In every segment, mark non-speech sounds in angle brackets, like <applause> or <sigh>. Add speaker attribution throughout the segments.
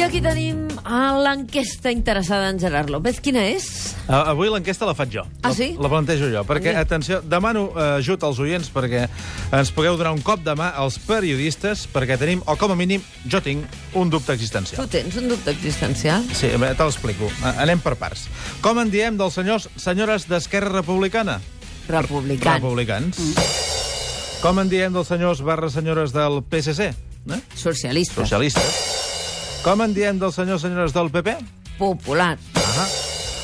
Speaker 1: avui tenim a l'enquesta interessada en Gerard López. Quina és?
Speaker 2: Ah, Avui l'enquesta la faig jo.
Speaker 1: Ah,
Speaker 2: La-
Speaker 1: sí?
Speaker 2: La plantejo jo, perquè,
Speaker 1: Molt bé.
Speaker 2: atenció, demano eh, ajut als oients perquè ens pugueu donar un cop de mà als periodistes perquè tenim, o com a mínim, jo tinc un dubte
Speaker 1: Tu
Speaker 2: existencial.
Speaker 1: tens un dubte existencial?
Speaker 2: Sí, bé, te l'explico. A- Anem per parts. Com en diem dels senyors, senyores d'Esquerra Republicana?
Speaker 1: Republicans.
Speaker 2: Republicans.
Speaker 1: Mm.
Speaker 2: Com en diem dels senyors barra senyores del PSC? Eh?
Speaker 1: Socialistes.
Speaker 2: Socialistes. Com en diem dels senyors senyores del PP?
Speaker 1: Popular.
Speaker 2: Ah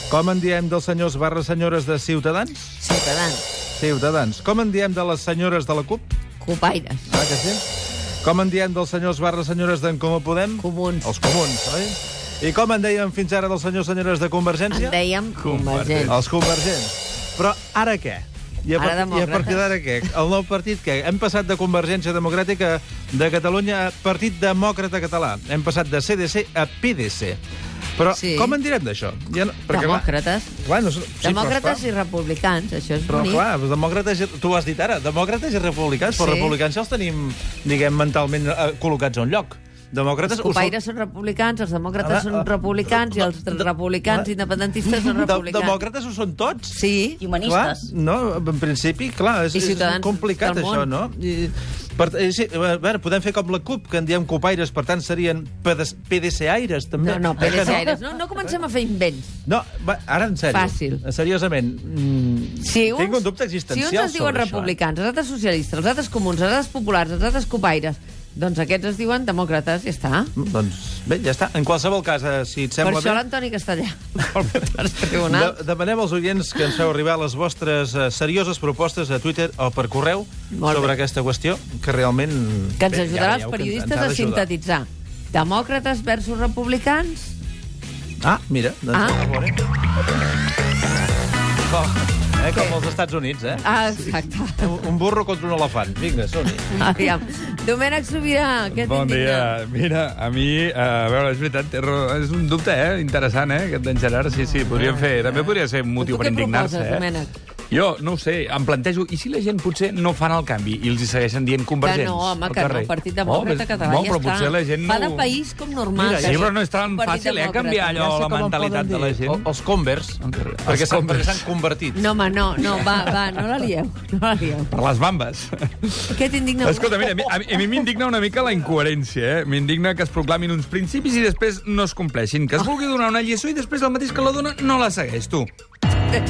Speaker 2: Com en diem dels senyors barra senyores de Ciutadans?
Speaker 1: Ciutadans.
Speaker 2: Ciutadans. Com en diem de les senyores de la CUP?
Speaker 1: Copaires.
Speaker 2: Ah, que sí? Com en diem dels senyors barra senyores d'en Comú Podem?
Speaker 1: Comuns.
Speaker 2: Els comuns, oi? I com en dèiem fins ara dels senyors senyores de Convergència?
Speaker 1: En dèiem Convergents.
Speaker 2: Els convergents. Però ara què? I a,
Speaker 1: Ara
Speaker 2: part- i a
Speaker 1: demòcrates.
Speaker 2: partir d'ara què? El nou partit què? Hem passat de Convergència Democràtica de Catalunya a Partit Demòcrata Català. Hem passat de CDC a PDC. Però
Speaker 1: Sí.
Speaker 2: com en direm d'això? Ja no, clar-
Speaker 1: Demòcrates.
Speaker 2: Clar, no, sí, però
Speaker 1: Demòcrates
Speaker 2: clar.
Speaker 1: i republicans, això és
Speaker 2: Però
Speaker 1: bonic.
Speaker 2: clar, els demòcrates, i- tu ho has dit ara, demòcrates i republicans, però
Speaker 1: Sí.
Speaker 2: republicans ja els tenim, diguem, mentalment eh, col·locats a un lloc. Demòcrates...
Speaker 1: Els
Speaker 2: ho
Speaker 1: copaires són republicans, els demòcrates
Speaker 2: Ara,
Speaker 1: són
Speaker 2: eh,
Speaker 1: republicans i els
Speaker 2: de-
Speaker 1: republicans
Speaker 2: de-
Speaker 1: independentistes
Speaker 2: són...
Speaker 1: són
Speaker 2: <laughs> De,
Speaker 1: republicans.
Speaker 2: demòcrates ho són tots?
Speaker 1: Sí.
Speaker 3: I humanistes.
Speaker 2: Clar, no, en principi, clar, és,
Speaker 1: I
Speaker 2: és
Speaker 1: ciutadans
Speaker 2: complicat
Speaker 1: del
Speaker 2: això,
Speaker 1: món.
Speaker 2: no? I, per, eh, sí, a veure, podem fer com la CUP, que en diem copaires, per tant serien pedes, PDC-aires, també.
Speaker 1: No, no,
Speaker 2: Eh que
Speaker 1: PDCaires. No, no comencem a fer invents.
Speaker 2: <laughs> No, va, ara en sèrio.
Speaker 1: Fàcil.
Speaker 2: Seriosament. Mm,
Speaker 1: Si uns,
Speaker 2: tinc un dubte existencial
Speaker 1: Si uns es diuen
Speaker 2: sobre això, eh?
Speaker 1: republicans, els altres socialistes, els altres comuns, els altres populars, els altres copaires, doncs aquests es diuen demòcrates, ja està.
Speaker 2: Doncs bé, ja està. En qualsevol cas, eh, si et
Speaker 1: Per
Speaker 2: sembla
Speaker 1: això
Speaker 2: bé...
Speaker 1: l'Antoni Castellà. <laughs> Per tribunal.
Speaker 2: De, demanem als oients que ens feu arribar les vostres eh, serioses propostes a Twitter o per correu
Speaker 1: Molt bé.
Speaker 2: sobre aquesta qüestió, que realment...
Speaker 1: Que ens
Speaker 2: bé,
Speaker 1: ajudarà
Speaker 2: ja
Speaker 1: els
Speaker 2: veieu que
Speaker 1: periodistes
Speaker 2: ens ha
Speaker 1: a
Speaker 2: d'ajudar.
Speaker 1: sintetitzar. Demòcrates versus republicans?
Speaker 2: Ah, mira, doncs
Speaker 1: Ah.
Speaker 2: ah. a veure. Com, eh, com als Estats Units, eh?
Speaker 1: Ah, exacte. <laughs>
Speaker 2: Un- Un burro contra un elefant. Vinga, som -hi.
Speaker 1: Aviam. Domènec Sobirà, què
Speaker 4: Bon
Speaker 1: t'indigna?
Speaker 4: dia. Mira, a mi, eh, a veure, és veritat, té raó. és un dubte, eh? Interessant, eh? Aquest d'en Gerard, sí, sí, podríem fer... També podria ser un motiu
Speaker 1: Ah, tu
Speaker 4: per
Speaker 1: què
Speaker 4: indignar-se,
Speaker 1: proposes,
Speaker 4: eh?
Speaker 1: Domènec?
Speaker 4: Jo, no ho sé, em plantejo... I si la gent potser no fan el canvi i els hi segueixen dient
Speaker 1: Que
Speaker 4: convergents?
Speaker 1: no, home,
Speaker 4: al
Speaker 1: que no.
Speaker 4: carrer? Oh,
Speaker 1: Partit Demòcrata
Speaker 4: però-
Speaker 1: Català,
Speaker 4: no,
Speaker 1: ja
Speaker 4: però
Speaker 1: està.
Speaker 4: potser la gent
Speaker 1: Va
Speaker 4: no...
Speaker 1: de país com normal.
Speaker 2: Mira,
Speaker 1: que
Speaker 4: Sí,
Speaker 1: la
Speaker 4: però
Speaker 1: gent-
Speaker 4: no és tan
Speaker 1: Partit
Speaker 4: fàcil, eh,
Speaker 1: Demòcrata.
Speaker 4: canviar
Speaker 2: sé
Speaker 4: allò, la
Speaker 2: com em poden
Speaker 4: mentalitat de la
Speaker 2: dir.
Speaker 1: Oh,
Speaker 4: gent.
Speaker 2: O, els Converse, perquè
Speaker 4: Els
Speaker 2: s'han- perquè
Speaker 4: Converse.
Speaker 2: s'han convertit.
Speaker 1: No, home, no, no, va, va, no la lieu, <laughs> no la lieu.
Speaker 4: Per les bambes.
Speaker 1: Què t'indigna?
Speaker 4: Escolta, mira, a mi- a mi- a mi m'indigna una mica la incoherència, eh? M'indigna que es proclamin uns principis i després no es compleixin. Que es vulgui donar una lliçó i després el mateix que la dona no la segueix, tu.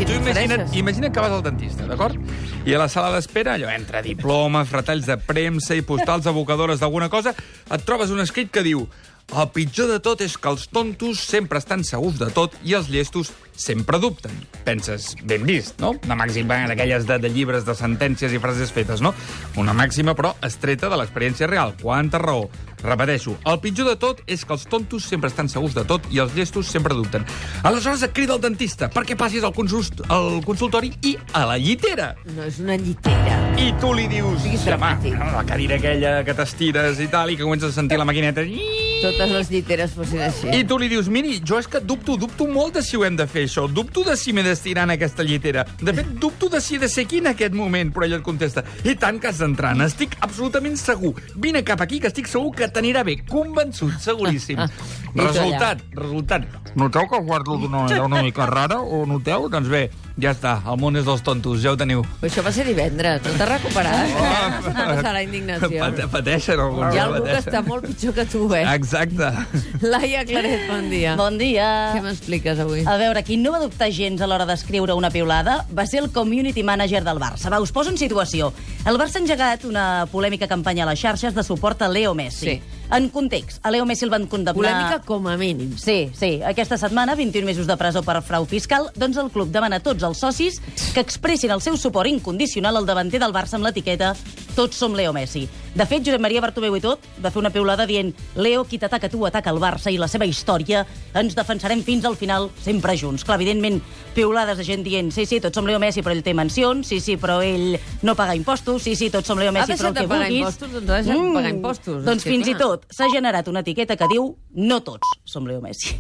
Speaker 4: Tu imagina't, imagina't que vas al dentista, d'acord? I a la sala d'espera, allò, entre diplomes, retalls de premsa i postals evocadores d'alguna cosa, et trobes un escrit que diu el pitjor de tot és que els tontos sempre estan segurs de tot i els llestos sempre dubten. Penses, ben vist, no? Una màxima d'aquelles de, de llibres, de sentències i frases fetes, no? Una màxima, però, estreta de l'experiència real. Quanta raó. Repeteixo, el pitjor de tot és que els tontos sempre estan segurs de tot i els llestos sempre dubten. Aleshores et crida el dentista perquè passis al, consult al consultori i a la llitera.
Speaker 1: No, és una llitera.
Speaker 4: I tu li dius...
Speaker 1: Siguis
Speaker 4: "Home,
Speaker 1: dramàtic."
Speaker 4: La cadira aquella que t'estires i tal, i que comences a sentir la maquineta... I...
Speaker 1: Totes les lliteres fossin així.
Speaker 4: I tu li dius, miri, jo és que dubto, dubto molt de si ho hem de fer, això. Dubto de si m'he d'estirar en aquesta llitera. De fet, dubto de si he de ser aquí en aquest moment. Però ella et contesta, i tant que has d'entrar, n'estic absolutament segur. Vine cap aquí, que estic segur que t'anirà bé. Convençut, seguríssim.
Speaker 1: Ah. I tu allà.
Speaker 4: resultat, resultat. Noteu que guardo d'una manera una mica rara? O noteu? Doncs bé, ja està, el món és dels tontos, ja ho teniu.
Speaker 1: Però això va ser divendres, no t'has
Speaker 4: Ah,
Speaker 1: recuperat? Oh. Passar la indignació.
Speaker 4: Pate- Pateixen alguns.
Speaker 1: Hi ha
Speaker 4: ja
Speaker 1: algú que
Speaker 4: pateixen.
Speaker 1: està molt pitjor que tu,
Speaker 4: Ah.
Speaker 1: eh?
Speaker 4: Exacte.
Speaker 1: Laia Claret, bon dia.
Speaker 3: Bon
Speaker 1: Què
Speaker 3: dia.
Speaker 1: m'expliques avui?
Speaker 3: A veure, qui no va dubtar gens a l'hora d'escriure una piulada va ser el community manager del Barça. Va, us poso en situació. El Barça ha engegat una polèmica campanya a les xarxes de suport a Leo Messi.
Speaker 1: Sí.
Speaker 3: En context, a Leo Messi el van condemnar...
Speaker 1: Polèmica com a mínim.
Speaker 3: Sí, sí. Aquesta setmana, 21 mesos de presó per frau fiscal, doncs el club demana a tots els socis que expressin el seu suport incondicional al davanter del Barça amb l'etiqueta Tots som Leo Messi. De fet, Josep Maria Bartomeu i tot va fer una piulada dient Leo, qui t'ataca tu, ataca el Barça i la seva història. Ens defensarem fins al final, sempre junts. Clar, evidentment, piulades de gent dient sí, sí, tots som Leo Messi, però ell té mencions, sí, sí, però ell no paga impostos, sí, sí, tots som Leo Messi,
Speaker 1: deixat
Speaker 3: però el que
Speaker 1: de pagar
Speaker 3: vulguis...
Speaker 1: impostos? Doncs ha deixat de pagar impostos, és
Speaker 3: Doncs
Speaker 1: que
Speaker 3: fins i
Speaker 1: clar.
Speaker 3: tot s'ha generat una etiqueta que diu no tots som Leo Messi.